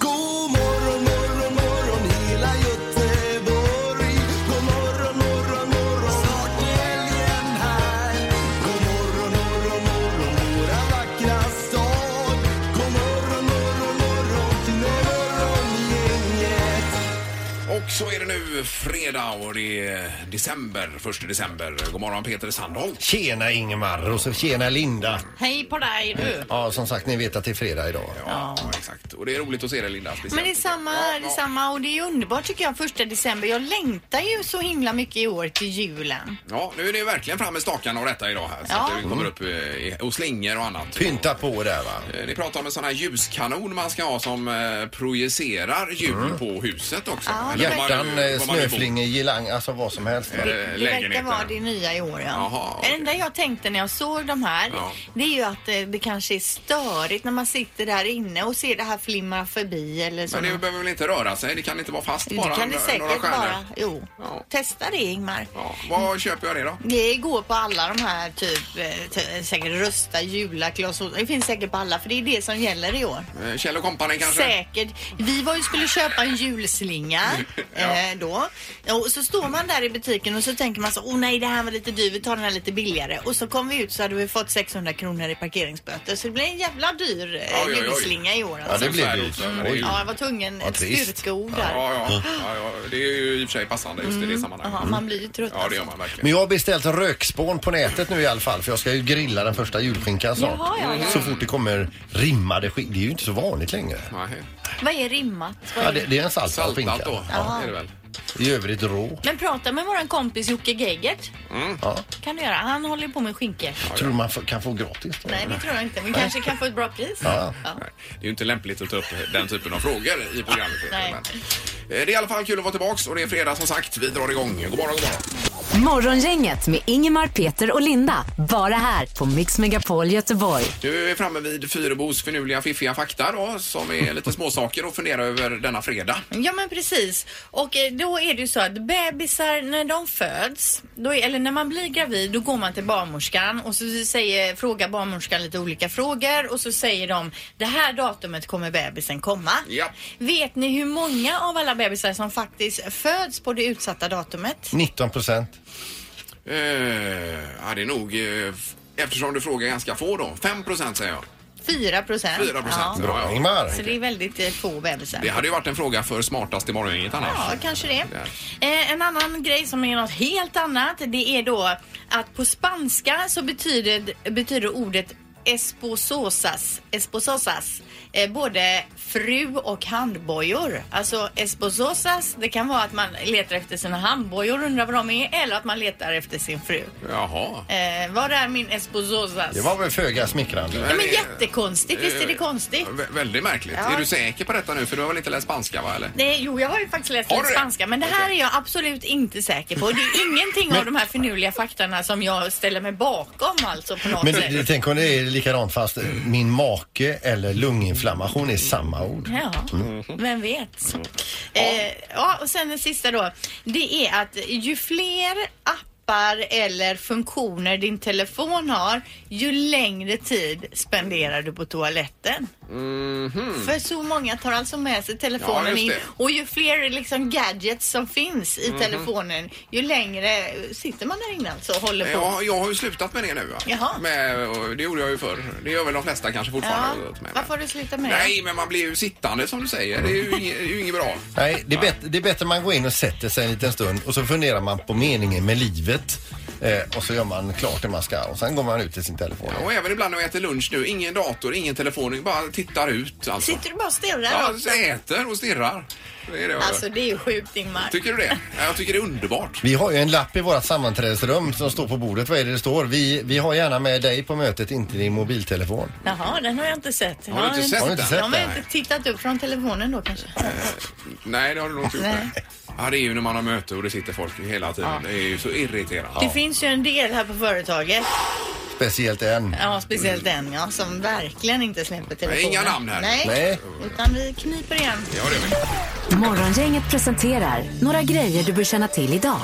God morgon, morgon, morgon hela Göteborg. God morgon, morgon, morgon. Snart är helgen här. God morgon, morgon, morgon våra vackra stad. God morgon, morgon, morgon till morgongänget. Och så är det nu fredag och det är december, första december. God morgon Peter Sandholt. Tjena Ingemar och så tjena Linda. Hej på dig du! Ja, som sagt, ni vet att det är fredag idag. Ja, exakt. Och det är roligt att se dig Linda. speciellt. Men det är samma, det är samma och det är ju underbart tycker jag första december. Jag längtar ju så himla mycket i år till julen. Ja, nu är det verkligen fram med stakarna och detta idag här. Så Ja. att det kommer upp eh, och slingor och annat. Pynta på där va. Eh, Ni pratar om en sån här ljuskanon man ska ha som eh, projicerar ljus på huset också. Ja, Eller var man Mm. Hjärtan, nu- eh, var man nu bor. snöflingor, girlang, alltså vad som helst. va? Eller Det verkar Eh, lägenheten. vara det nya i år ja. Jaha, okej. Det enda jag tänkte när jag såg de här, Ja. det är ju att eh, det kanske är störigt när man sitter där inne och ser det här flimra förbi eller så. Men det behöver väl inte röra sig? Det kan inte vara fast bara? det kan det några säkert stjärnor. vara. Jo, Ja. testa det Ingmar. Ja, vad köper jag det då? Det går på alla de här typ, eh, ty- säkert Rusta, Jula, Clas Ohlson. Det finns säkert på alla för det är det som gäller i år. Eh, Kjell och Company kanske? Säkert. Vi var ju skulle köpa en julslinga eh, då. Och så står man där i butiken och så tänker man så, åh nej det här var lite dyrt, vi tar den här lite billigare. Och så kom vi ut så hade vi fått 600 kronor i parkeringsböter. Så det blev en jävla dyr eh, Oj, oj, oj. julslinga i år Ja, alltså. det blir dyrt. Så här också. Oj. Ja, jag var tvungen. Vad Ett trist. styrkeord där. Ja, ja, ja, ja, det är ju i och för sig passande just Mm. i det sammanhanget. Ja, man blir ju trött Ja, det gör alltså. man verkligen. Men jag har beställt rökspån på nätet nu i alla fall för jag ska ju grilla den första julskinkan snart. Jaha, ja, ja. Så fort det kommer rimmade skinka. Det är ju inte så vanligt längre. Nej. Vad är rimmat? Vad är Ja, det, det är en saltad skinka. Saltat då, är det väl. I övrigt rå. Men prata med våran kompis Jocke Geggert. Mm. Ja. Kan du göra. Han håller ju på med skinkor. Tror du man får- kan få gratis? då? Nej, det tror jag inte. Men kanske kan få ett bra pris. Ja. Ja. Nej. Det är ju inte lämpligt att ta upp den typen av frågor i programmet. Peter, Nej. Men. eh, Det är i alla fall kul att vara tillbaka och det är fredag som sagt. Vi drar igång. God morgon, god morgon. Morgongänget med Ingemar, Peter och Linda. Bara här på Mix Megapol Göteborg. Nu är vi framme vid Fyrebos finurliga fiffiga fakta då, som är lite småsaker att fundera över denna fredag. Ja men precis. Och eh, då är det ju så att bebisar när de föds, då är, eller när man blir gravid, då går man till barnmorskan och så säger, frågar barnmorskan lite olika frågor och så säger de det här datumet kommer bebisen komma. Ja. Vet ni hur många av alla bebisar som faktiskt föds på det utsatta datumet? 19 procent. Eh, ja, det är nog, eh, f- eftersom du frågar ganska få då, 5 procent säger jag. 4 procent. 4 procent. Ja. Ja. Bra Ja, Ingemar. Så det är väldigt eh, få bebisar. Det hade ju varit en fråga för smartast i morgon, inget annars. Ja, kanske det. Eh, en annan grej som är något helt annat det är då att på spanska så betyder, betyder ordet espososas, espososas eh, både fru och handbojor. Alltså espososas, det kan vara att man letar efter sina handbojor och undrar vad de är eller att man letar efter sin fru. Jaha. Eh, var är min espososas? Det var väl föga smickrande. Ja, men Eh, jättekonstigt, visst är det konstigt? Vä- väldigt märkligt. Ja. Är du säker på detta nu? För du har väl inte läst spanska va? Eller? Nej, jo, jag har ju faktiskt läst Har lite du det? spanska, men det här är jag absolut inte säker på. Det är ingenting av de här finurliga faktorna som jag ställer mig bakom alltså på något Men sätt. det, tänk om det är likadant fast min make eller lunginflammation är samma ord. Ja, vem vet. Mm. Eh, ja, och sen den sista då. Det är att ju fler appar eller funktioner din telefon har, ju längre tid spenderar du på toaletten. För så många tar alltså med sig Mhm. Ja, telefonen just in det. Mhm. och ju fler liksom gadgets som finns i telefonen, ju längre sitter man där inne alltså och håller på. Ja, jag har ju slutat med det nu. Va? Jaha. Med, och det gjorde jag ju förr. Det gör väl de flesta kanske fortfarande. Ja, Med, men- Varför har du slutat med det? Nej, men man blir ju sittande som du säger. Det är ju inget, det är ju inget bra. Nej, det är, bättre, det är bättre man går in och sätter sig en liten stund och så funderar man på meningen med livet. Eh, och så gör man klart det man ska och sen går man ut till sin telefon. Och även ibland när jag äter lunch nu, ingen dator, ingen telefon, bara tittar ut alltså. Sitter du bara och stirrar? Ja, rakt så äter och stirrar. Det är det jag Alltså gör. det är ju sjukt Ingmar. Tycker du det? Ja, Jag tycker det är underbart. Vi har ju en lapp i vårt sammanträdesrum som står på bordet. Vad är det det står? Vi, vi har gärna med dig på mötet, inte din mobiltelefon. Jaha, den har jag inte sett. Har du inte sett Har du inte den? sett Jag har den? inte tittat upp från telefonen då kanske. Nej, det har du nog inte gjort. Nej. nej. Ja, det är ju när man har möte och det sitter folk hela tiden. Det är ju så irriterande. Det finns ju en del här på företaget Speciellt en. Ja, speciellt den ja, som verkligen inte släpper telefonen. Mm. inga namn här. Nej. Nej. utan vi kniper igen. Ja, det är vi. Morgongänget presenterar några grejer du bör känna till idag.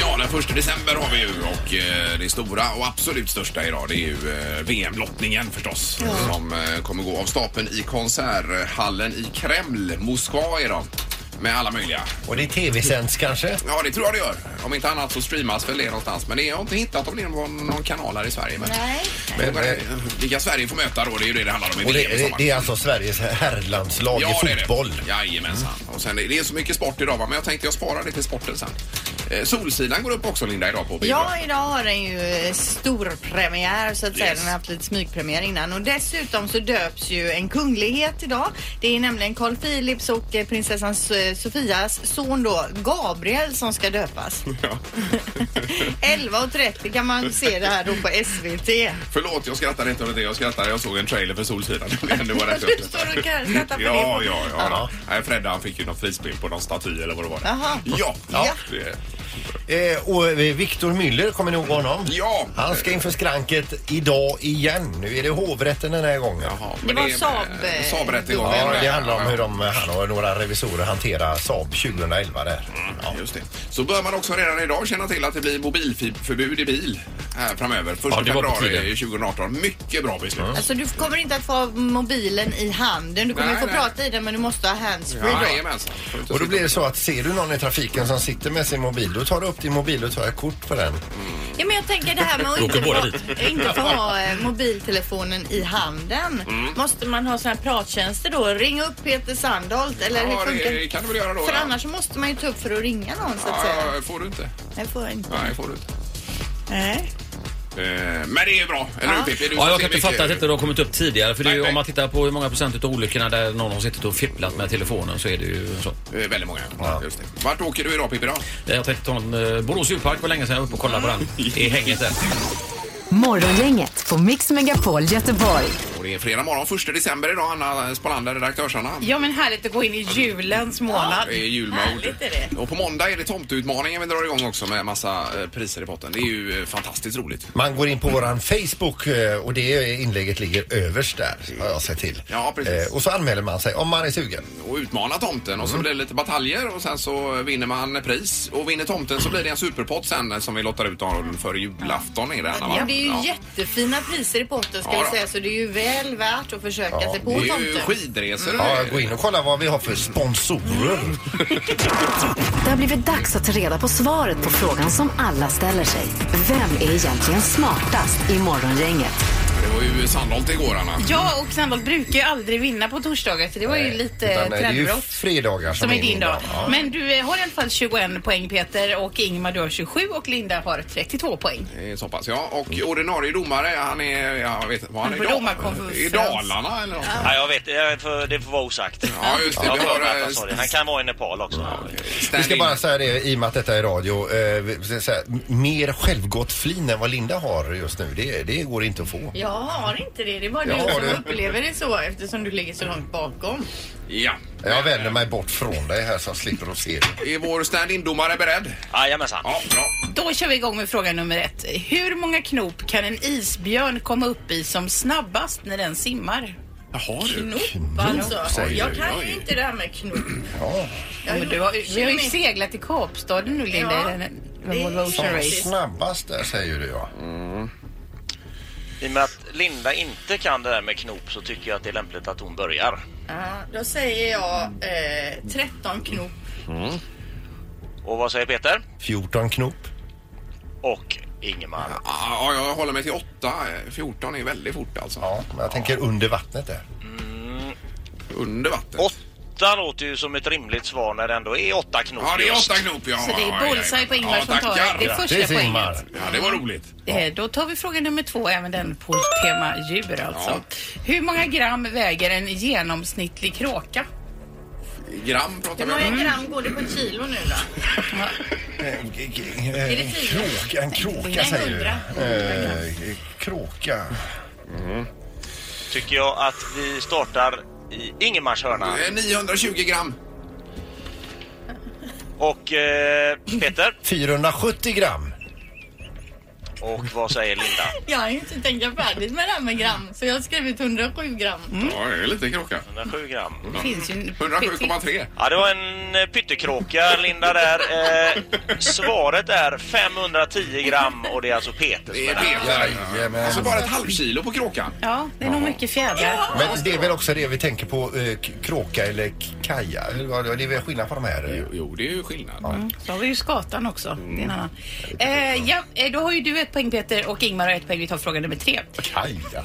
ja, den första december har vi ju och eh, det stora och absolut största idag det är ju eh, VM-lottningen förstås. Som eh, kommer gå av stapeln i konserthallen i Kreml, Moskva idag. Med alla möjliga. Och det är tv-sänds kanske? Ja, det tror jag det gör. Om inte annat så streamas väl det någonstans. Men det, jag har inte hittat om det är någon, någon kanal här i Sverige. Men, Nej. men, men eh, vilka Sverige får möta då, det är ju det det handlar om i Och det, VM i det, sommar. det är alltså Sveriges herrlandslag i fotboll. Det är det. Jajamensan. Och sen, är- det är så mycket sport idag va? men jag tänkte jag sparar det till sporten sen. Eh, Solsidan går upp också Linda idag på bio. Ja, idag har den ju eh, stor premiär så att säga. Yes. Den har haft lite smygpremiär innan. Och dessutom så döps ju en kunglighet idag. Det är nämligen Carl Philips och eh, prinsessan eh, Sofias son då, Gabriel, som ska döpas. Ja. 11.30 kan man se det här då på SVT. Förlåt, jag skrattar inte över det. Jag skrattar. Jag såg en trailer för Solsidan. Det var rätt Du jag står och kan- skrattar för ja, det. ja, ja, Nej, Fredda han fick ju någon frispel på någon staty eller vad det var. Jaha. Ja. Ja. Det- Eh, och eh, Viktor Müller, kommer ni ihåg honom? Ja. Han ska inför skranket idag igen. Nu är det hovrätten den här gången. Jaha, Det men var är- Saab, eh, Saab-rättegången. Ja, det Ja, handlar om ja. hur de, han och några revisorer hanterar Saab 2011 där. Ja, Mm. just det. Så bör man också redan idag känna till att det blir mobilförbud i bil här framöver. Första Ja, det var på februari tiden. Mm. 2018. Mycket bra beslut. Alltså du kommer inte att få ha mobilen i handen. Du kommer Nej, få nej. prata i den men du måste ha handsfree då. Jajamensan. Får inte Och då sitta- blir det så att ser du någon i trafiken som sitter med sin mobil, då tar du upp din mobil och tar ett kort på den. Ja, men jag tänker det här med att inte få, inte få ha eh, mobiltelefonen i handen. Mm. Måste man ha sådana här prattjänster då? Ringa upp Peter Sandholt eller hur Ja, funkar det kan du väl göra då. För ja. annars så måste man ju ta upp för att ringa någon så att säga. Ja, får du inte. Det får jag inte. Nej, får du inte. Nej. Eh, Men det är ju bra, eller hur Pippi? Du Ja, jag ser kan inte mycket- fatta att inte de har kommit upp tidigare. För det är Nej, ju, nej. om man tittar på hur många procent av olyckorna där någon har suttit och fipplat med telefonen så är det ju så. Eh, Väldigt många. Just det. Vart åker du idag Pippi då? Jag tänkte ta en eh, Borås djurpark var länge sedan jag var uppe och kollade på den i hänget där. Morgongänget på Mix Megapol Göteborg. Och det är fredag morgon, 1 december idag. Anna Spolander, redaktörs-Anna. Ja men härligt att gå in i julens månad. Det är julmode. Härligt är det. Och på måndag är det tomteutmaningen vi drar igång också med massa eh, priser i potten. Det är ju eh, fantastiskt roligt. Man går in på våran Facebook eh, och det inlägget ligger överst där, har jag sett till. Ja, precis. Eh, Och så anmäler man sig om man är sugen. och utmana tomten och så blir det lite bataljer och sen så vinner man pris. Och vinner tomten så blir det en superpott sen eh, som vi lottar ut dagen före julafton. Är det, Anna, va? Ja, det är ju Ja. jättefina priser i potten ska Ja, jag då. säga så det är ju väl värt att försöka sig på Det är ju tomten. skidresor. Ja, gå in och kolla vad vi har för sponsorer. Det har blivit dags att ta reda på svaret på frågan som alla ställer sig. Vem är egentligen smartast i Morgongänget? Det var ju Sandholt igår, Anna. Ja och Sandholt brukar ju aldrig vinna på torsdagar så det var ju lite Utan, eh, det är ju trendbrott. fredagar som, Som är din dag. Ja. Men du eh, har i alla fall 21 poäng Peter och Ingmar du har 27 och Linda har 32 poäng. Det är Eh, Så pass, ja. Och ordinarie domare, han är, jag vet inte, var han Han får är domarkonferens. i Dalarna eller något. Ja, jag vet, jag får, det får vara osagt. Ja, just det. Jag Vi har har, hört eh, att han Han kan vara i Nepal också. Vi stand-in. ska bara säga det i och med att detta är radio. Eh, vi ska säga, m- mer självgott flin än vad Linda har just nu. Det, det går inte att få. Jag har inte det, det är bara Ja, du som det- upplever det så eftersom du ligger så långt bakom. Ja. Eh, Jag vänder mig bort från dig här så jag slipper att se det. Är vår stand-in-domare beredd? Jajamensan. Ja, bra. Då kör vi igång med fråga nummer ett. Hur många knop kan en isbjörn komma upp i som snabbast när den simmar? Jaha, du. Knop alltså. säger Jag du. kan Oj. ju inte det här med knop. Ja, men du har, vi har ju seglat i Kapstaden nu Linda Ja. i den, den Volvo Ocean Som Race. snabbast där säger du ja. I och med att Linda inte kan det där med knop så tycker jag att det är lämpligt att hon börjar. Ja, då säger jag eh, 13 knop. Och vad säger Peter? 14 knop. Och Ingemar. Ah, Ja, jag håller mig till 8. 14 är väldigt fort alltså. Ja, men jag tänker under vattnet där. Under vattnet. Åtta låter ju som ett rimligt svar när det ändå är åtta knop. Ja, det är just. åtta knop. Ja, Så det Ja, är ja, bullseye på ja. Ingmar ja, som tar tackar. det första Grattis, Ingmar. poänget. Ja, det var roligt. Eh, Då tar vi fråga nummer två, även den på tema djur alltså. Ja. Hur många gram väger en genomsnittlig kråka? Gram pratar Hur vi många om. gram går det på kilo nu då? det En fyra? Eh, kråka, en kråka Nej, säger hundra. du. Eh, Kråka. Tycker jag att vi startar i Ingemars hörna. Eh, 920 gram. Och eh, Peter? 470 gram. Och vad säger Linda? Jag har ju inte tänkt färdigt med det här med gram. Så jag har skrivit 107 gram. Mm. Ja, det är en liten kråka. 107 gram. Det finns ju en- 107,3. Ja, det var en eh, pyttekråka, Linda, där. Eh, svaret är 510 gram och det är alltså Peter som Det är är där. Peter. Alltså bara ett halvkilo på kråkan. Ja, det är nog mycket fjädrar. Men det är väl också det vi tänker på, eh, k- kråka eller k- kaja? Eller vad- Det är väl skillnad på de här? Jo, det är ju skillnad. Mm, Så har vi ju skatan också. Det är en annan. Eh, ja, eh, då har ju du ett poäng Peter och Ingmar har ett poäng. Vi tar fråga nummer tre. Kaja?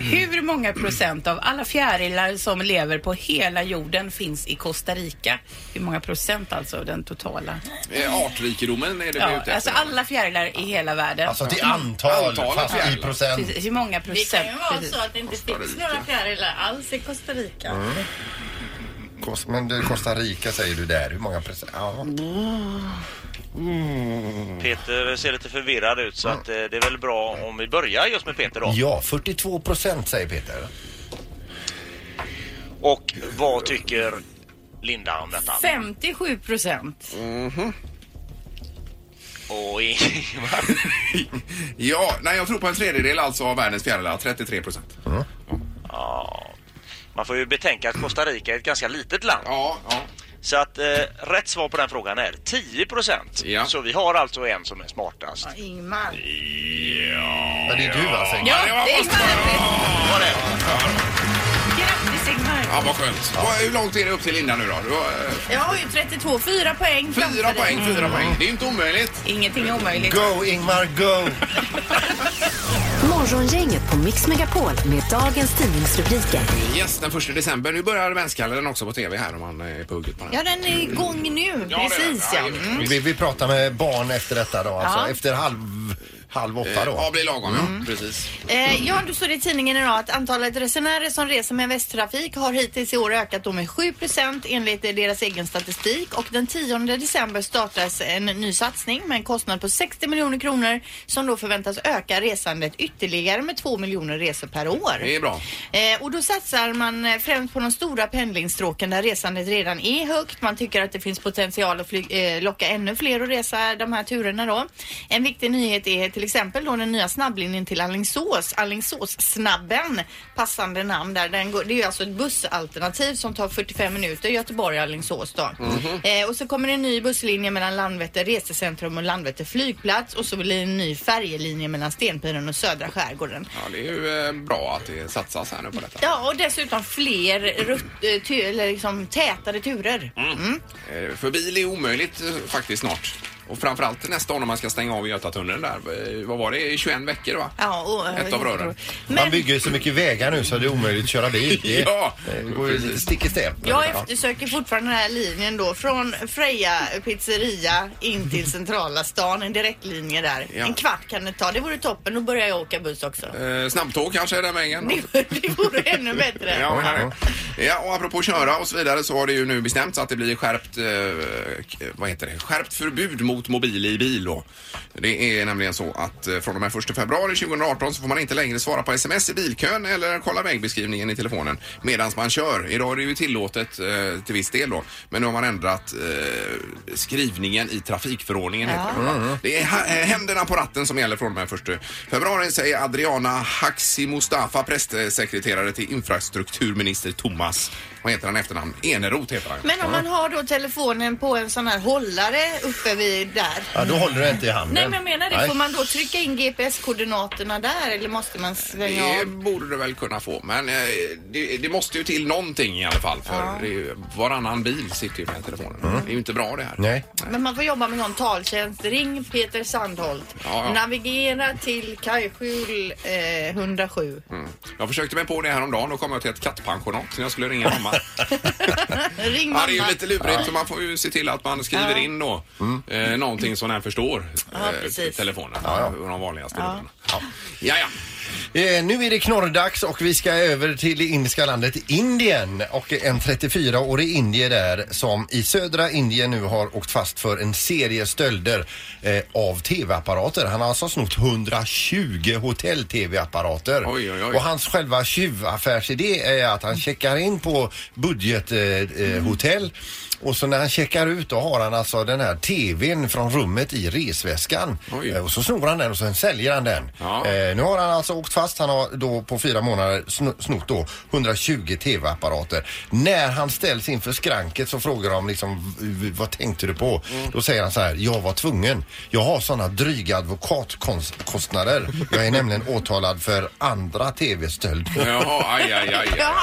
Hur många procent av alla fjärilar som lever på hela jorden finns i Costa Rica? Hur många procent alltså av den totala? Eh, Artrikedomen är det vi är Ja, ute alltså efter. alla fjärilar i hela världen. Alltså till antal, Antalet fast i jävlar. procent. Precis, hur många procent? Det kan ju vara Precis. så att det inte finns några fjärilar alls i Costa Rica. Mm. Kost, men det- Costa Rica säger du där, hur många procent? Ja. Mm. Peter ser lite förvirrad ut så att eh, det är väl bra om vi börjar just med Peter då. Ja, 42 procent säger Peter. Och vad tycker Linda om detta? 57 procent. Och Ingmar? Ja, nej jag tror på en tredjedel alltså av världens fjärilar, 33 procent. Ja, man får ju betänka att Costa Rica är ett ganska litet land. Ja, ja. Så att eh, rätt svar på den frågan är 10 procent. Så vi har alltså en som är smartast. Ingmar. Ja, det är du alltså. va? säger- Ja, det är Var det? Grattis Ingmar! Ja, vad skönt. Vad- Hur långt är det upp till Linda nu då? Du har, eh, Jag har ju 32, fyra poäng framför fyra dig. Mm. poäng, fyra poäng. Det är ju inte omöjligt. Ingenting är omöjligt. Go Ingmar, go! Morgongänget på Mix Megapol med dagens tidningsrubriker. Yes, den första december. Nu börjar världskalendern också på tv här om man är på hugget på den. Ja, den är igång eh, nu. Ja, det är Precis den. ja. Ja, Mm. Vi, vi pratar med barn efter detta då, alltså. Ja. Efter halv, halv åtta då. Ja, blir lagom Mm. ja. Precis. Eh, ja, du står i tidningen idag att antalet resenärer som reser med Västtrafik har hittills i år ökat då med 7 enligt eh, deras egen statistik och den 10 december startas en ny satsning med en kostnad på 60 miljoner kronor som då förväntas öka resandet ytterligare med 2 miljoner resor per år. Det är bra. Eh, och då satsar man eh, främst på de stora pendlingsstråken där resandet redan är högt. Man tycker att det finns potential att fly- eh, locka ännu fler att resa de här turerna då. En viktig nyhet är till exempel då den nya snabblinjen till Alingsås, Alingsås-snabben, passande namn där. Den går, det är ju alltså ett bussalternativ som tar 45 minuter Göteborg-Alingsås då. Eh, och så kommer det en ny busslinje mellan Landvetter resecentrum och Landvetter flygplats och så blir det en ny färjelinje mellan Stenpiren och Södra skärgården. Ja, det är ju eh, bra att det satsas här nu på detta. Ja, och dessutom fler rutt, eh, tu, eller liksom tätare turer. Mm. Eh, För bil är omöjligt eh, faktiskt snart. Och framförallt nästa år när man ska stänga av Götatunneln där. Eh, Vad var det? 21 veckor va? Ja, och, eh, Ett av rören. Man bygger ju så mycket vägar nu så det är omöjligt att köra bil. Det, Ja, det går ju lite stick i stäv. Jag eftersöker fortfarande den här linjen då från Freja pizzeria in till centrala stan. En direktlinje där. Ja. En kvart kan det ta. Det vore toppen. Då börjar jag åka buss också. Eh, Snabbtåg kanske är den vägen. Det vore ännu bättre. Ja, men här är- ja, och apropå köra och så vidare så har det ju nu bestämts att det blir skärpt, eh, k- vad heter det, skärpt förbud mot mobil i bil då. Det är nämligen så att eh, från och med 1 februari 2018 så får man inte längre svara på sms i bilkön eller kolla vägbeskrivningen i telefonen medan man kör. Idag är det ju tillåtet eh, till viss del då, men nu har man ändrat eh, skrivningen i trafikförordningen. Heter det, va? det är ha- eh, händerna på ratten som gäller från och med 1 februari säger Adriana Haxi Mustafa, pressekreterare till infrastrukturminister Thomas, vad heter han i efternamn? Eneroth heter han. Men om man har då telefonen på en sån här hållare uppe vid där. Ja, då håller du inte i handen. Nej men jag menar det, Nej. får man då trycka in GPS-koordinaterna där eller måste man svänga Det av? borde du väl kunna få, men eh, det, det måste ju till någonting i alla fall för det är ju, varannan bil sitter ju med telefonen. Det är ju inte bra det här. Nej. Men man får jobba med någon taltjänst. Ring Peter Sandholt. Ja, ja. Navigera till Kajskjul eh, 107. Mm. Jag försökte mig på det här om dagen och kom jag till ett kattpensionat när jag skulle ringa mamma. Ring Ja, mamma. det är ju lite lurigt så man får ju se till att man skriver in då eh, någonting som den förstår. Ja, eh, precis. telefonen. Ja, ja. De vanligaste Ja. numren. Ja. Ja, ja. Eh, nu är det knorrdags och vi ska över till det indiska landet Indien och en 34-årig indier där som i södra Indien nu har åkt fast för en serie stölder eh, av tv-apparater. Han har alltså snott 120 hotell-tv-apparater. Oj, oj, oj. Och hans själva tjuvaffärsidé är att han checkar in på budgethotell eh, hotell Och så när han checkar ut då har han alltså den här TVn från rummet i resväskan. Eh, Och så snor han den och sen säljer han den. Eh, nu har han alltså åkt fast. Han har då på fyra månader sno- snott då 120 TV-apparater. När han ställs inför skranket så frågar de liksom "V- v- vad tänkte du på? Då säger han så här, jag var tvungen. Jag har sådana dryga advokatkostnader. Jag är nämligen åtalad för andra TV-stöld. Jaha, aj, aj, aj. Ja,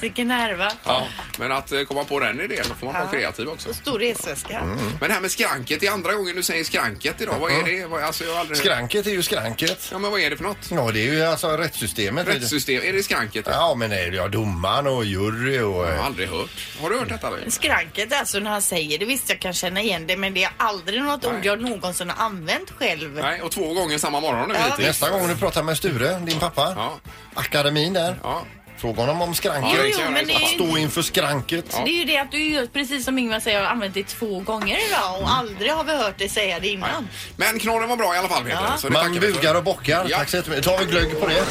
vilken nerva. Ja, men att eh, komma på den idén, då får man vara kreativ också. Stor resväska. Men det här med skranket, det är andra gången du säger skranket idag. Vad är det? Vad- Alltså, jag har aldrig... Skranket är ju skranket. Ja, men vad är det för något? Ja, det är ju alltså rättssystemet. Rättssystem, är det skranket? Ja, men det är ja, domaren och jury och... eh, Jag har aldrig hört. Har du hört detta? Eller? Skranket alltså när han säger det. Visst jag kan känna igen det men det är aldrig något ord jag någonsin har använt själv. Nej, och två gånger samma morgon nu Mm. Ja. hittills. Nästa gång du pratar med Sture, din pappa, akademin där, fråga honom om skranket. Jo, jo, men det är ju- Stå inför skranket. Så Det är ju det att du gör precis som Ingvar säger har använt det två gånger idag och Mm. aldrig har vi hört dig säga det innan. Men knorren var bra i alla fall Peter. Ja. Så det Man tackar vi för. bugar och bockar. Tack så jättemycket. Tar vi glögg på det?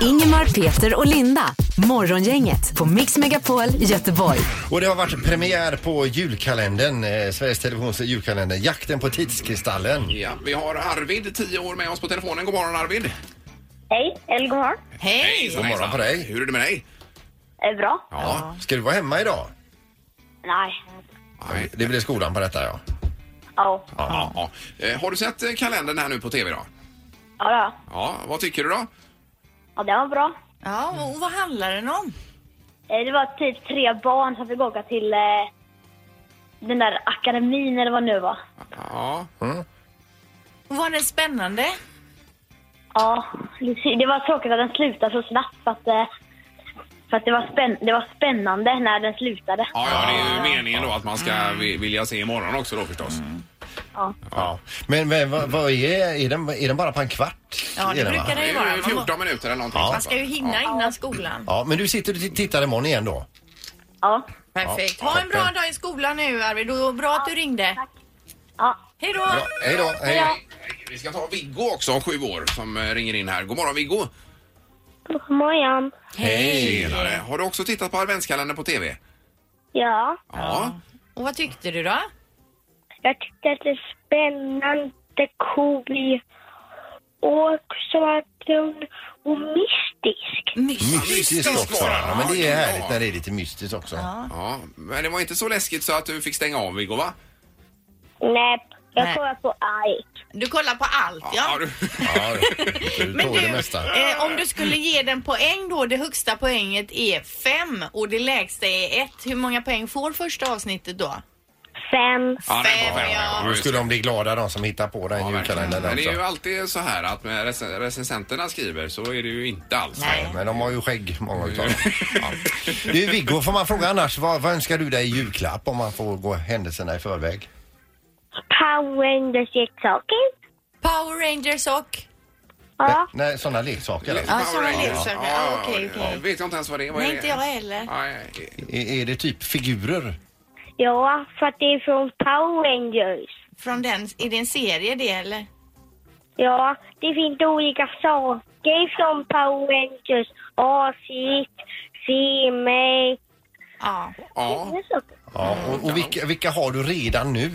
Ingemar, Peter och Linda. Morgongänget på Mix Megapol Göteborg. Och det har varit premiär på julkalendern, eh, Sveriges Televisions julkalender, Jakten på tidskristallen. Ja, vi har Arvid, 10 år, med oss på telefonen. God morgon Arvid! Hej, eller god morgon. Hej! God morgon på dig. Hur är det med dig? Är bra? Ja. Ska du vara hemma idag? Nej. Nej. Det blir skolan på detta ja. Ja. Ja. ja, ja. Eh, Har du sett eh, kalendern här nu på tv då? Ja, ja. Ja, vad tycker du då? ja, det var bra. Ja, och vad handlar den om? Eh, Det var typ tre barn som fick åka till eh, den där akademin eller vad det nu var. Ja. Och var det spännande? Ja, det var tråkigt att den slutade så snabbt för att, eh, för att det, var spänn- det var spännande när den slutade. Ja, ja, det är ju meningen då att man ska vi- vilja se imorgon också då förstås. ja. Men, men vad, vad är, är, den, är den bara på en kvart? Ja, det Är den, va? brukar det ju vara. Det är 14 minuter eller någonting. Ja. Man ska ju hinna innan skolan. Ja, men du sitter och t- tittar imorgon igen då? Ja. Perfekt. Ja, Ha en bra toppen. dag i skolan nu Arvid och bra att du ringde. Ja. Hej då! Bra. Hej då. Hej. Vi ska ta Viggo också, sju år, som eh, ringer in här. God morgon Viggo! God morgon. Tjenare. Har du också tittat på adventskalendern på tv? Ja. Ja. Och vad tyckte du då? Jag tyckte att det är spännande, cool och så att hon, hon mystisk. Mystiskt också. var den. Ja, men det Ja, är härligt när det är lite mystiskt också. Ja, men det var inte så läskigt så att du fick stänga av Viggo va? Nej, jag Nej. kollar på allt. Du kollar på allt ja. du... Ja, du Men tog det du, mesta. eh, om du skulle ge den poäng då, det högsta poänget är fem och det lägsta är ett. Hur många poäng får första avsnittet då? Fem. Ja, den var fem, ja. Nu skulle de bli glada de som hittar på den julkalendern Men det är ju också. alltid så här att när rec- recensenterna skriver så är det ju inte alls. Nej, men de har ju skägg många utav dem. Ja. Du Viggo, får man fråga annars, vad, vad önskar du dig i julklapp om man får gå händelserna i förväg? Power Rangers leksaker. Power Rangers och? Ja. Nej, sådana leksaker alltså. Ja, sådana leksaker. Ja, okej, Jag okej. vet jag inte ens vad det är. Vad är Nej, det? inte jag heller. Nej, nej. Är, är det typ figurer? Ja, för att det är från Power Rangers. Från den, är det en serie det eller? Ja, det finns olika saker från Power Rangers. Avsikt, filmer. Ja. Ja. Ja, Mm, och, och vilka, vilka har du redan nu?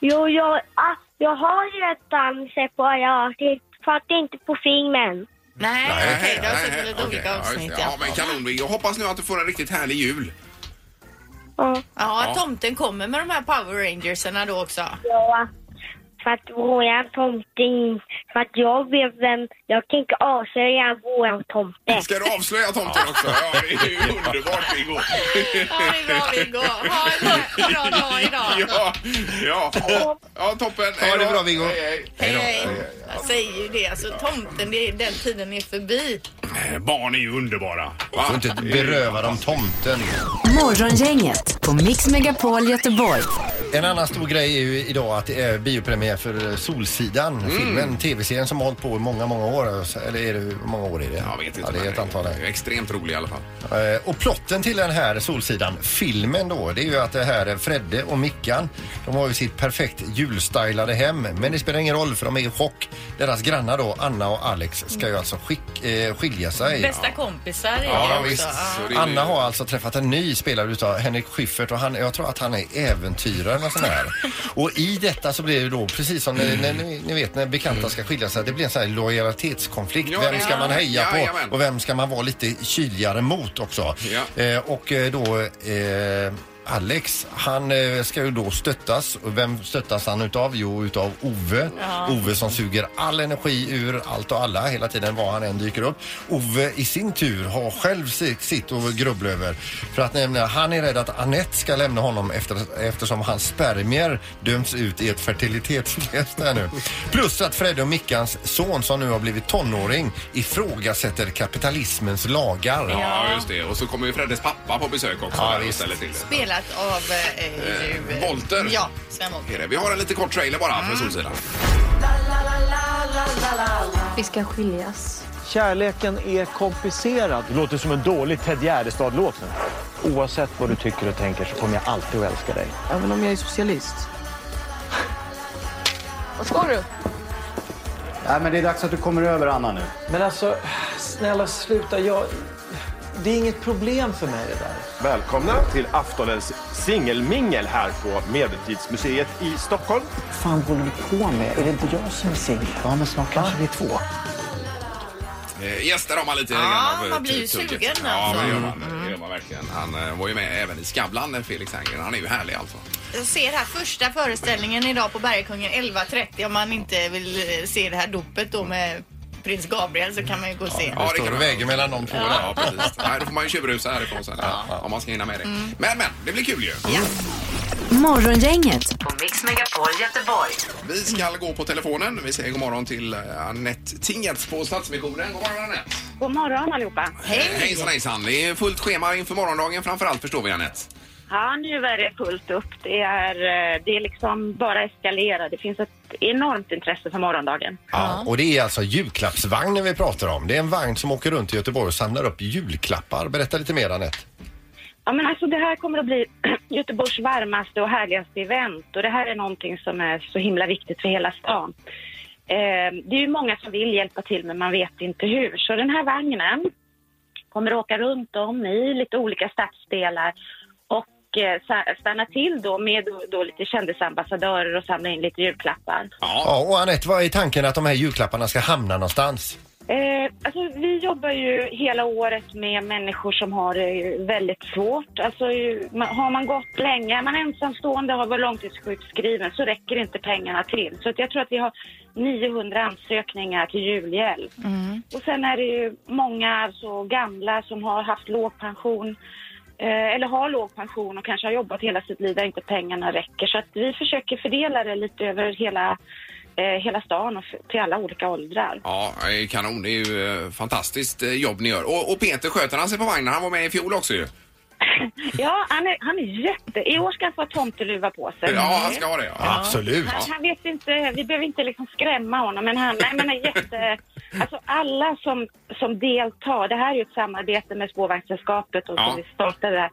Jo, jag, ah, jag har redan separat. Det fattar inte på filmen. Nej, okej, det har nej, sett lite okej, olika ja, just avsnitt det. ja. Ja, men kanon Viggo. Jag hoppas nu att du får en riktigt härlig jul. Ja. Ja, tomten kommer med de här Power Rangerserna då också. Ja, för att våran tomte in, för att jag vet vem, jag kan inte avslöja våran tomte. Ska du avslöja tomten också? Ja, det är ju underbart Viggo. Ja, det är bra Viggo. Ha en bra- bra dag idag. Ja, ja. Ja, ja toppen. Ha det Hej då. bra Viggo. Hej, hej. Hej, hej. Jag säger ju det, alltså tomten, det, är- den tiden är förbi. Eh, Barn är ju underbara. Du får inte beröva dem tomten. Morgongänget på Mix Megapol Göteborg. En annan stor grej är ju idag att det är biopremiär för eh, Solsidan, Mm. filmen, tv-serien som har hållit på i många, många år. alltså. Eller är det, hur många år är det? Jag vet inte. Ja, det är men ett antal. är Extremt rolig i alla fall. Eh, Och plotten till den här Solsidan, filmen då, det är ju att det här är Fredde och Mickan. De har ju sitt perfekt julstylade hem, men det spelar ingen roll för de är i chock. Deras grannar då, Anna och Alex, ska ju alltså skick, eh, skilja sig. Bästa kompisar är det Ja, också. visst. Ja. Anna har alltså träffat en ny spelare utav Henrik Schyffert och han, jag tror att han är äventyrare eller sån här. Och i detta så blir det då, precis som ni, ni, ni- ni vet när bekanta ska skilja sig, det blir en sån här lojalitetskonflikt. Ja, vem det- ska man heja ja, jajamän. på och vem ska man vara lite kyligare mot också? Eh, och eh, då eh, Alex, han eh, ska ju då stöttas. Och vem stöttas han utav? Jo, utav Ove. Ja. Ove som suger all energi ur allt och alla hela tiden var han än dyker upp. Ove i sin tur har själv si- sitt och grubbla över. För att nämligen, han är rädd att Annette ska lämna honom efter, eftersom hans spermier döms ut i ett fertilitetstest här nu. Plus att Fredde och Mickans son som nu har blivit tonåring ifrågasätter kapitalismens lagar. Ja, just det. Och så kommer ju Freddes pappa på besök också. där och ställer till det. Spelat av... Eh, Eh, Volter. ja, Sven Wollter. Är det. Vi har en lite kort trailer bara Mm. från Solsidan. Vi ska skiljas. Kärleken är komplicerad. Det låter som en dålig Ted Gärdestad-låt. Oavsett vad du tycker och tänker så kommer jag alltid att älska dig. Även om jag är socialist. Vad ska du? Nej, men det är dags att du kommer över Anna nu. Men alltså, snälla sluta. Jag... Det är inget problem för mig det där. Välkomna till aftonens singelmingel här på Medeltidsmuseet i Stockholm. fan håller du på med? Är det inte jag som är singel? Ja, men snart kanske vi är två. Eh, Gäster har man lite Ja, grann av, man eh, blir ju tugget. sugen Ja, alltså. det gör man. Det gör man verkligen. Han eh, var ju med även i Skavlan, eh, Felix Herngren. Han är ju härlig alltså. Jag ser här första föreställningen idag på Bergkungen 11.30. Om man inte vill eh, se det här dopet då med prins Gabriel så kan man ju gå och se. Ja, det kan väger mellan de två där. Ja, precis. Nej, då får man ju tjuvrusa härifrån sen. Om man ska hinna med det. Mm. Men, men, det blir kul ju. Morgongänget På Mix Megapol Göteborg. Vi ska gå på telefonen. Vi säger god morgon till eh, Anette Tingert på Stadsmissionen. God morgon Anette. God morgon allihopa. Eh, Hejsan hejsan. Det är fullt schema inför morgondagen framför allt förstår vi Anette. Ja, nu är det fullt upp. Det är, eh, det är liksom bara eskalera. Det finns ett enormt intresse för morgondagen. Ja, och det är alltså julklappsvagnen vi pratar om. Det är en vagn som åker runt i Göteborg och samlar upp julklappar. Berätta lite mer Anette. Ja, men alltså det här kommer att bli Göteborgs varmaste och härligaste event och det här är någonting som är så himla viktigt för hela stan. Eh, det är ju många som vill hjälpa till men man vet inte hur. Så den här vagnen kommer att åka runt om i lite olika stadsdelar och eh, sa- stanna till då med då, då lite kändisambassadörer och samla in lite julklappar. Ja, och Anette, vad är tanken att de här julklapparna ska hamna någonstans? Eh, alltså, vi jobbar ju hela året med människor som har det väldigt svårt. Alltså, ju- man- har man gått länge, är man ensamstående har varit långtidssjukskriven så räcker inte pengarna till. Så att jag tror att vi har 900 ansökningar till julhjälp. Och sen är det ju många alltså, gamla som har haft låg pension eh, eller har låg pension och kanske har jobbat hela sitt liv där inte pengarna räcker. Så att vi försöker fördela det lite över hela, eh, hela stan och f- till alla olika åldrar. Ja, det är kanon. Det är ju eh, fantastiskt eh, jobb ni gör. Och, och Peter, sköter han sig på vagnen? Han var med i fjol också ju. Ja, han är, han är jätte... I år ska han få ha tomteluva på sig. Ja, han ska ha det, ja. Absolut. Han, han vet inte, vi behöver inte liksom skrämma honom, men han, nej, men han är jätte... Alltså alla som, som deltar, det här är ju ett samarbete med Spårvagnssällskapet och Ja. som vi startade där.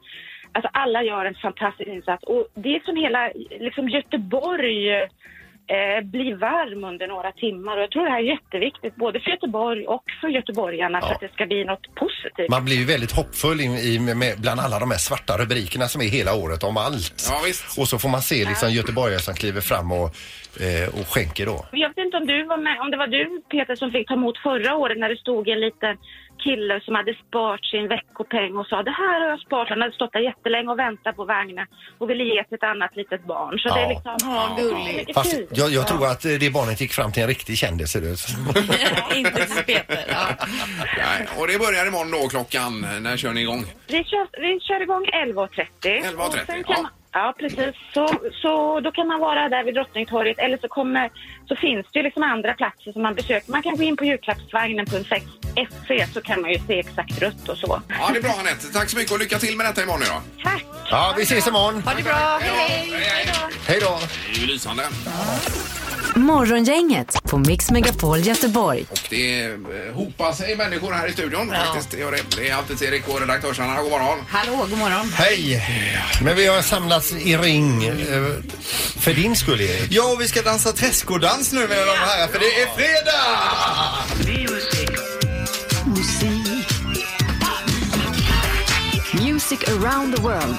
Alltså alla gör en fantastisk insats och det är som hela liksom Göteborg eh, blir varm under några timmar och jag tror det här är jätteviktigt både för Göteborg och för göteborgarna för att det ska bli något positivt. Man blir ju väldigt hoppfull i, i, med, bland alla de här svarta rubrikerna som är hela året om allt. Och så får man se liksom göteborgare som kliver fram och, eh, och skänker då. Jag vet inte om, du var med, om det var du, Peter, som fick ta emot förra året när det stod en liten kille som hade sparat sin veckopeng och sa det här har jag sparat. Han hade stått där jättelänge och väntat på vagnen och ville ge till ett annat litet barn. Så det är Ja. liksom... Ja, gulligt. Fast jag, jag tror att eh, det barnet gick fram till en riktig kändis. ser det ut som. Inte till Peter. Ja. Nej, och det börjar imorgon då klockan. När kör ni igång? Vi kör, vi kör igång 11.30. 11.30, Och sen ja. kan man- Ja, precis. Så, så då kan man vara där vid Drottningtorget eller så, kommer, så finns det ju liksom andra platser som man besöker. Man kan gå in på julklappsvagnen.se så kan man ju se exakt rutt och så. Ja, det är bra Anette. Tack så mycket och lycka till med detta imorgon nu då. Tack! Ja, vi ses imorgon. Ha det bra. Hej, hej. Hej då. Det är ju lysande. Morgongänget på Mix Megapol Göteborg. Det eh, hopar sig människor här i studion. Faktiskt, det, gör det. det är alltid Erik och redaktörsarna. God morgon. Hallå, god morgon. Hej! Men vi har samlats i ring eh, för din skull Erik. Ja, vi ska dansa träskodans nu mina damer och herrar, för det är fredag! musik. Music around the world.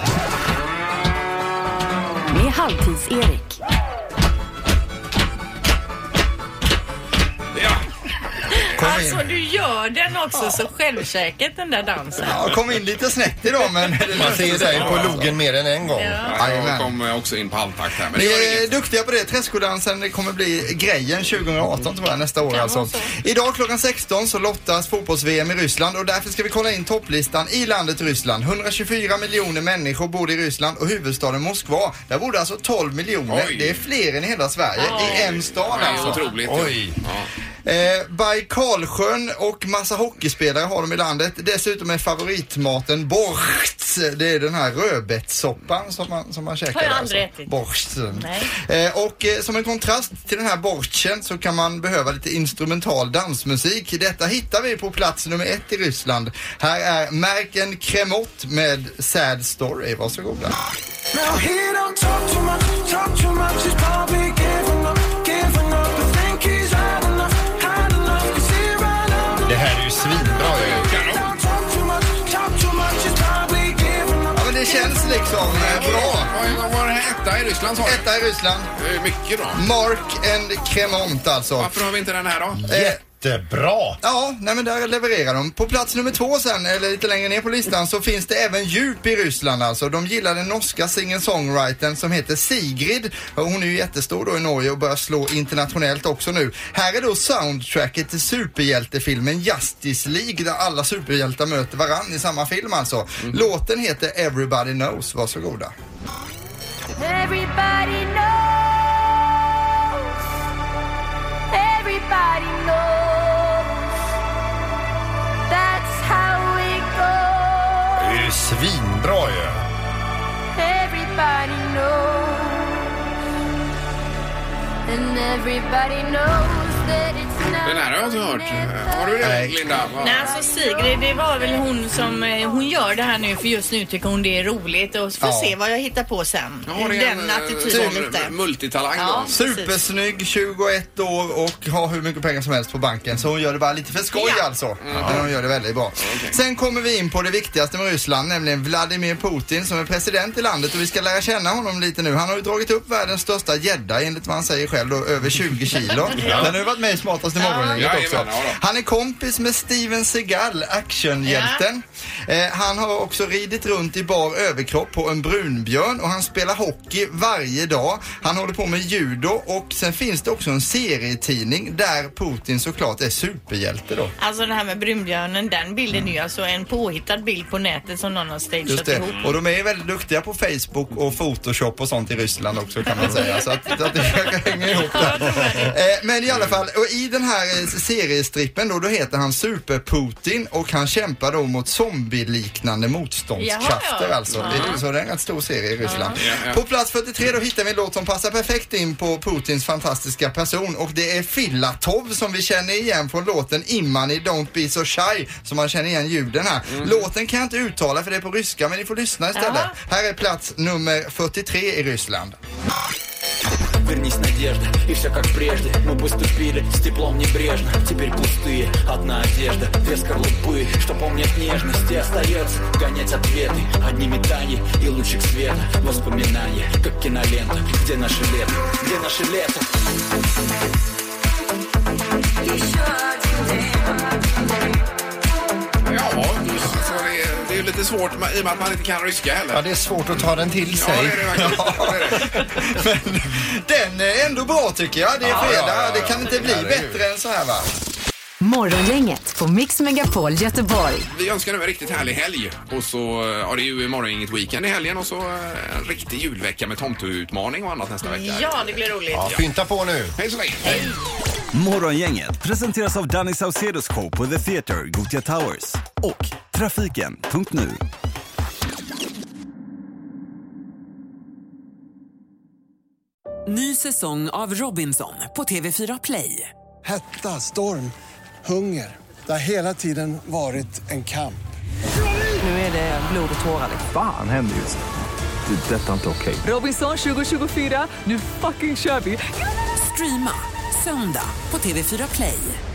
Med Halvtids-Erik. Alltså du gör den också så självsäkert den där dansen. Jag kom in lite snett idag men... Man ser dig på logen mer än en gång. Ja, jag kom eh, också in på halvtakt här. Men det Ni gör är duktiga på det. Träskodansen det kommer bli grejen 2018 tror jag, nästa år alltså. Idag klockan 16 så lottas fotbolls-VM i Ryssland och därför ska vi kolla in topplistan i landet Ryssland. 124 miljoner människor bor i Ryssland och huvudstaden Moskva, där bor det alltså 12 miljoner. Oj. Det är fler än i hela Sverige i en stad Ja, alltså. Otroligt. Oj. Ja. Eh, Bajkalsjön och massa hockeyspelare har de i landet. Dessutom är favoritmaten borst. Det är den här rödbetssoppan som man, som man käkar. Har jag där, aldrig alltså. ätit. Borst. Eh, och eh, som en kontrast till den här borsten så kan man behöva lite instrumental dansmusik. Detta hittar vi på plats nummer ett i Ryssland. Här är Merken Kremot med Sad Story. Varsågoda. Now he don't talk too much, talk too much. He's probably giving up, giving up. I think he's had enough, had enough. 'Cause he ran out Det här är ju svinbra ju. Don't talk too much, talk too much. He's probably giving up. Ja, men det känns liksom eh, bra. Vad var det här? Etta i Ryssland sa du? Etta i Ryssland. Det är mycket bra. Mark and Cremont alltså. Varför har vi inte den här då? Jättebra! Ja, nej men där levererar de. På plats nummer två sen, eller lite längre ner på listan, så finns det även djup i Ryssland alltså. De gillar den norska singer-songwritern som heter Sigrid. Och Hon är ju jättestor då i Norge och börjar slå internationellt också nu. Här är då soundtracket till superhjältefilmen Justice League där alla superhjältar möter varann i samma film alltså. Mm. Låten heter Everybody Knows, varsågoda. Everybody knows. Everybody knows. That's how it goes. Det är ju svinbra ju. Everybody knows. And everybody knows that it's not. Den här har jag inte hört. Har du det Linda? Vad- Nej, alltså Sigrid, det var väl hon som eh, hon gör det här nu för just nu tycker hon det är roligt och så får Ja. se vad jag hittar på sen. Jag har en, Den eh, attityden sån lite. Multitalang Ja, då. Supersnygg, 21 år och har hur mycket pengar som helst på banken. Så hon gör det bara lite för skoj Ja. alltså. Men hon gör det väldigt bra. Sen kommer vi in på det viktigaste med Ryssland, nämligen Vladimir Putin som är president i landet och vi ska lära känna honom lite nu. Han har ju dragit upp världens största gädda enligt vad han säger själv då, över 20 kilo. Ja. Den har ju varit med i Smartaste morgongänget Jajamän, också. ja då. Han är kompis med Steven Seagal, actionhjälten. Eh, han har också ridit runt i bar överkropp på en brunbjörn och han spelar hockey varje dag. Han håller på med judo och sen finns det också en serietidning där Putin såklart är superhjälte då. Alltså det här med brunbjörnen, den bilden är ju alltså en påhittad bild på nätet som någon har Mm. Just stageat det. ihop. Och de är väldigt duktiga på Facebook och Photoshop och sånt i Ryssland också kan man säga. Så att, så att det hänger ihop där. Eh, Men i alla fall, och i den här eh, seriestrippen då, då heter han Super-Putin och han kämpar då mot zombieliknande motståndskrafter Jaha, ja. alltså. Ja. Det, så det är en rätt stor serie i Ryssland. Ja, ja. På plats 43 då hittar vi en låt som passar perfekt in på Putins fantastiska person och det är Filatov som vi känner igen från låten Imani Don't Be So Shy som man känner igen ljuden här. Låten kan jag inte uttala för det är på ryska men ni får lyssna istället. Jaha. Här är plats nummer 43 i Ryssland. Вернись, надежда, и все как прежде Мы бы ступили с теплом небрежно Теперь пустые, одна одежда Две скорлупы, что помнят нежности Остается гонять ответы Одни метания и лучик света Воспоминания, как кинолента Где наше лето, где наше лето Ja, alltså det, är- det är ju lite svårt ma- i och med att man inte kan ryska heller. Ja, det är svårt att ta den till sig. Ja, det är det verkligen. Den är ändå bra tycker jag. Det är Ja, fredag. ja, ja, ja. Det kan inte bli Herregud. bättre än så här va? Morgongänget på Mix Megapol Göteborg. Vi önskar nu en riktigt härlig helg. Och så, eh, ja, det är ju imorgon inget weekend i helgen och så eh, en riktig julvecka med tomteutmaning och annat nästa vecka. Ja, det blir roligt. Ja, Pynta på nu. Hej så länge. Hej. Morgongänget presenteras av Danny Saucedos show på The Theatre, Gothia Towers och Trafiken.nu. Ny säsong av Robinson på TV4 Play. Hetta, storm, hunger. Det har hela tiden varit en kamp. Nu är det blod och tårar. liksom. Fan händer just det. Det är detta inte okej. Robinson 2024, nu fucking kör vi! Streama söndag på TV4 Play.